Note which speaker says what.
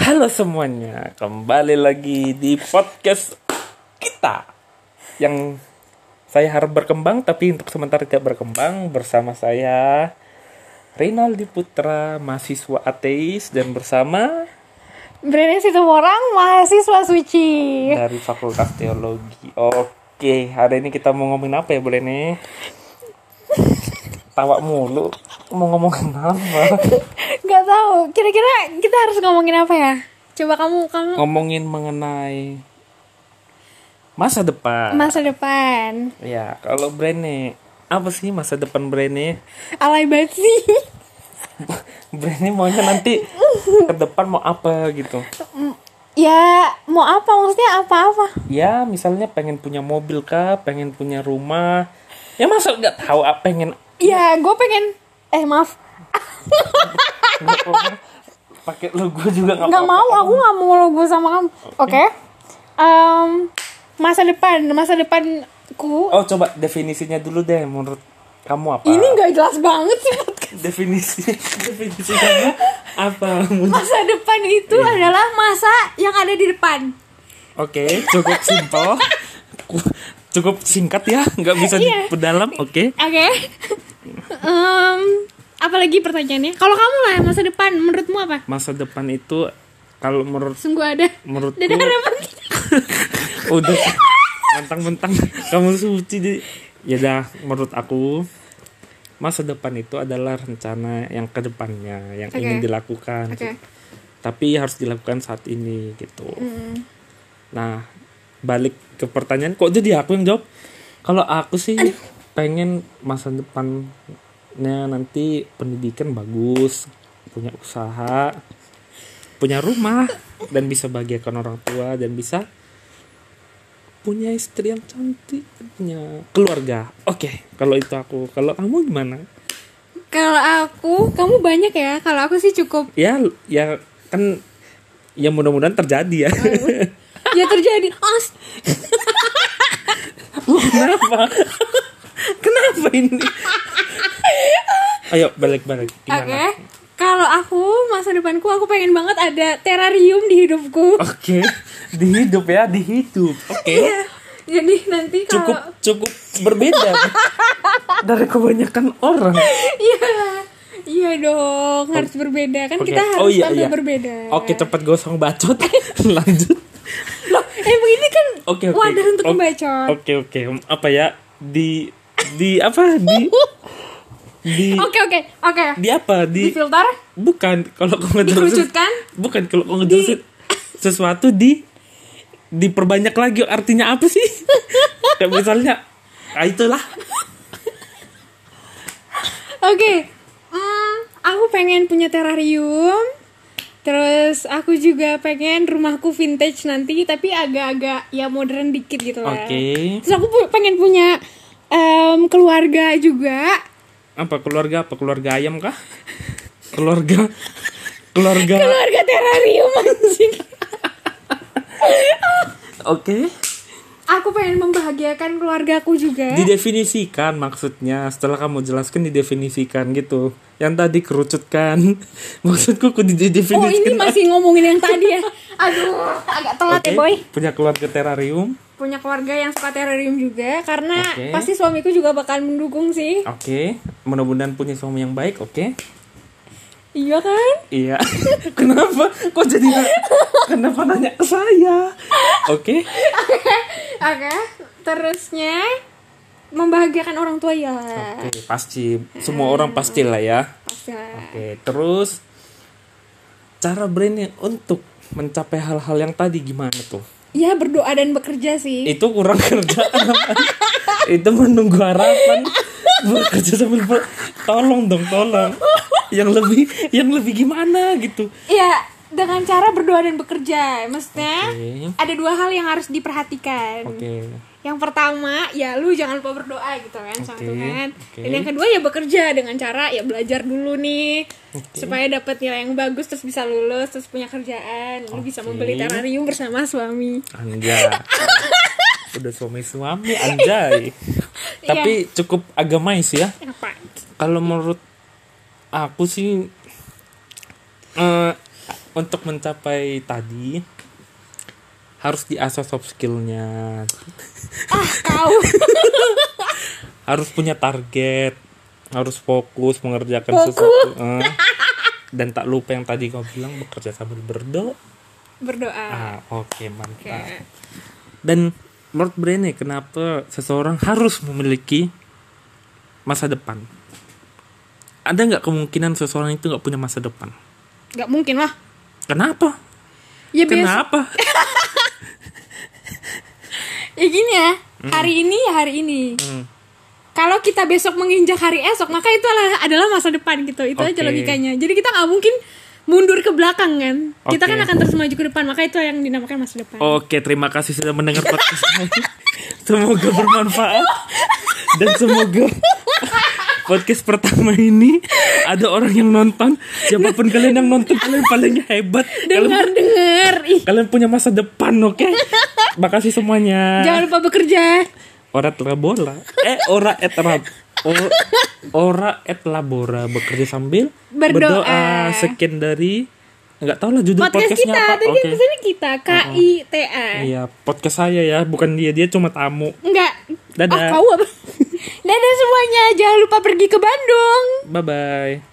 Speaker 1: Halo semuanya, kembali lagi di podcast kita yang saya harap berkembang tapi untuk sementara tidak berkembang bersama saya Rinaldi Putra, mahasiswa ateis dan bersama
Speaker 2: Brene itu orang mahasiswa suci.
Speaker 1: dari Fakultas Teologi. Oke, hari ini kita mau ngomongin apa ya boleh nih? Tawa mulu, mau ngomongin apa?
Speaker 2: Gak tahu. Kira-kira kita harus ngomongin apa ya? Coba kamu kamu
Speaker 1: Ngomongin mengenai masa depan.
Speaker 2: masa depan.
Speaker 1: Ya, kalau Brene, apa sih masa depan Brene?
Speaker 2: Alay banget sih.
Speaker 1: Brene maunya nanti ke depan mau apa gitu.
Speaker 2: ya mau apa maksudnya apa-apa?
Speaker 1: Ya, misalnya pengen punya mobil kah, pengen punya rumah. Ya masa nggak tahu apa pengen
Speaker 2: Ya gue pengen eh maaf
Speaker 1: pakai lu gue juga nggak
Speaker 2: nggak
Speaker 1: apa-apa. Oh.
Speaker 2: mau aku nggak mau logo sama kamu. Oke. Em, masa depan masa depanku
Speaker 1: Oh, coba definisinya dulu deh menurut kamu apa?
Speaker 2: ini nggak jelas banget sih podcast.
Speaker 1: definisi definisi kamu apa? Oke,
Speaker 2: masa depan itu
Speaker 1: Iya.
Speaker 2: adalah masa yang ada di depan.
Speaker 1: cukup simpel. cukup singkat ya, nggak bisa
Speaker 2: Iya.
Speaker 1: diperdalam. Oke.
Speaker 2: Oke. Em, apalagi pertanyaannya? Kalau kamu lah masa depan menurutmu apa?
Speaker 1: Masa depan itu kalau menurut
Speaker 2: Sungguh ada.
Speaker 1: Menurutku-
Speaker 2: Dada harapan.
Speaker 1: udah mentang-mentang kamu suci jadi ya dah menurut aku masa depan itu adalah rencana yang kedepannya yang
Speaker 2: Oke.
Speaker 1: ingin dilakukan gitu.
Speaker 2: Oke.
Speaker 1: tapi harus dilakukan saat ini gitu nah balik ke pertanyaan kok jadi aku yang jawab kalau aku sih pengen masa depannya nanti pendidikan bagus punya usaha punya rumah dan bisa bahagiakan orang tua dan bisa punya istri yang cantik punya keluarga oke kalau itu aku kalau kamu gimana
Speaker 2: Kalau aku, kamu banyak ya. Kalau aku sih cukup
Speaker 1: ya ya kan ya mudah-mudahan terjadi ya
Speaker 2: ya terjadi. As.
Speaker 1: kenapa kenapa ini ayo balik-balik
Speaker 2: Oke.
Speaker 1: gimana
Speaker 2: Kalau aku masa depanku aku pengen banget ada terrarium di hidupku.
Speaker 1: oke dihidup ya dihidup oke
Speaker 2: Iya. Jadi nanti kalau
Speaker 1: cukup cukup berbeda dari kebanyakan orang
Speaker 2: Iya. Iya dong, harus berbeda kan
Speaker 1: Oke.
Speaker 2: kita harus
Speaker 1: oh iya
Speaker 2: tampil
Speaker 1: iya
Speaker 2: berbeda.
Speaker 1: oke cepat gosong bacot lanjut
Speaker 2: Loh, eh begini kan
Speaker 1: oke oke
Speaker 2: wadah untuk
Speaker 1: O-
Speaker 2: membacot.
Speaker 1: oke oke apa ya di di apa di di
Speaker 2: Oke oke oke.
Speaker 1: di apa di
Speaker 2: Di filter,
Speaker 1: bukan kalau kau ngejelasin
Speaker 2: dikerucutkan,
Speaker 1: bukan kalau kau ngejelasin sesuatu di diperbanyak lagi artinya apa sih kayak misalnya ah, itulah
Speaker 2: Oke. Hmm, aku pengen punya terrarium. Terus aku juga pengen rumahku vintage nanti tapi agak-agak ya modern dikit gitu
Speaker 1: oke
Speaker 2: lah. Terus aku pu- pengen punya em, keluarga juga.
Speaker 1: apa keluarga apa keluarga ayam kah keluarga keluarga
Speaker 2: Keluarga terrarium anjing.
Speaker 1: oke
Speaker 2: Aku pengen membahagiakan keluargaku juga.
Speaker 1: didefinisikan maksudnya setelah kamu jelaskan didefinisikan gitu yang tadi kerucutkan maksudku kudu
Speaker 2: Oh,
Speaker 1: didefinisikan
Speaker 2: ini masih ngomongin yang tadi ya. Aduh, agak telat
Speaker 1: Oke,
Speaker 2: ya, Boy.
Speaker 1: punya keluarga terrarium
Speaker 2: Punya keluarga yang suka terrarium juga karena
Speaker 1: Oke.
Speaker 2: pasti suamiku juga bakal mendukung sih.
Speaker 1: oke mudah-mudahan punya suami yang baik oke
Speaker 2: Iya kan?
Speaker 1: Iya. Kenapa? Kok jadi kenapa nanya ke saya? Oke.
Speaker 2: Oke, terusnya membahagiakan orang tua ya.
Speaker 1: Oke, pasti semua orang pasti lah ya.
Speaker 2: Pastilah.
Speaker 1: Oke, terus cara brandnya untuk mencapai hal-hal yang tadi gimana tuh?
Speaker 2: Ya berdoa dan bekerja sih.
Speaker 1: Itu kurang kerjaan. apa? Itu menunggu harapan. Bekerja sambil ber- tolong dong, tolong. Yang lebih yang lebih gimana gitu.
Speaker 2: Ya dengan cara berdoa dan bekerja, maksudnya
Speaker 1: Oke.
Speaker 2: ada dua hal yang harus diperhatikan.
Speaker 1: Oke.
Speaker 2: Yang pertama ya lu jangan lupa berdoa gitu kan sama
Speaker 1: Oke,
Speaker 2: Tuhan.
Speaker 1: oke.
Speaker 2: Dan yang kedua ya bekerja dengan cara ya belajar dulu nih supaya dapat nilai yang bagus terus bisa lulus terus punya kerjaan lu bisa membeli terrarium bersama suami.
Speaker 1: Anjay. Udah suami-suami anjay. Tapi cukup agamais ya.
Speaker 2: Apa?
Speaker 1: Kalau menurut aku sih eh untuk mencapai tadi harus diasah soft skillnya
Speaker 2: ah kau
Speaker 1: harus punya target harus fokus mengerjakan
Speaker 2: Fokus.
Speaker 1: sesuatu Eh. dan tak lupa yang tadi kau bilang bekerja sambil berdoa
Speaker 2: berdoa
Speaker 1: Ah, oke mantap. Dan menurut Brené kenapa seseorang harus memiliki masa depan? Ada nggak kemungkinan seseorang itu nggak punya masa depan?
Speaker 2: nggak mungkin lah
Speaker 1: Kenapa?
Speaker 2: ya biasa
Speaker 1: Kenapa?
Speaker 2: ya gini ya hari ini ya hari ini
Speaker 1: Hmm.
Speaker 2: kalau kita besok menginjak hari esok maka itu adalah, adalah masa depan gitu itu aja
Speaker 1: Oke.
Speaker 2: logikanya jadi kita nggak mungkin mundur ke belakang kan kita
Speaker 1: Oke.
Speaker 2: kan
Speaker 1: Oh.
Speaker 2: akan terus maju ke depan maka itu yang dinamakan masa depan
Speaker 1: Oke, terima kasih sudah mendengar podcast saya. Semoga bermanfaat dan semoga podcast pertama ini ada orang yang nonton. Siapapun kalian yang nonton, kalian paling hebat. Kalian,
Speaker 2: dengar dengar ih
Speaker 1: kalian punya masa depan, oke? Makasih semuanya.
Speaker 2: jangan lupa bekerja
Speaker 1: Ora et labora. Eh, ora et lab- o- Ora et labora bekerja sambil
Speaker 2: Berdoa.
Speaker 1: Sekian dari nggak tahu lah judul
Speaker 2: podcast
Speaker 1: podcastnya
Speaker 2: kita
Speaker 1: apa.
Speaker 2: tadi
Speaker 1: Oke.
Speaker 2: misalnya kita K I T A
Speaker 1: Iya, podcast saya ya, bukan dia dia cuma tamu.
Speaker 2: enggak
Speaker 1: Dadah.
Speaker 2: ah, kau apa dadah semuanya jangan lupa pergi ke Bandung
Speaker 1: Bye bye.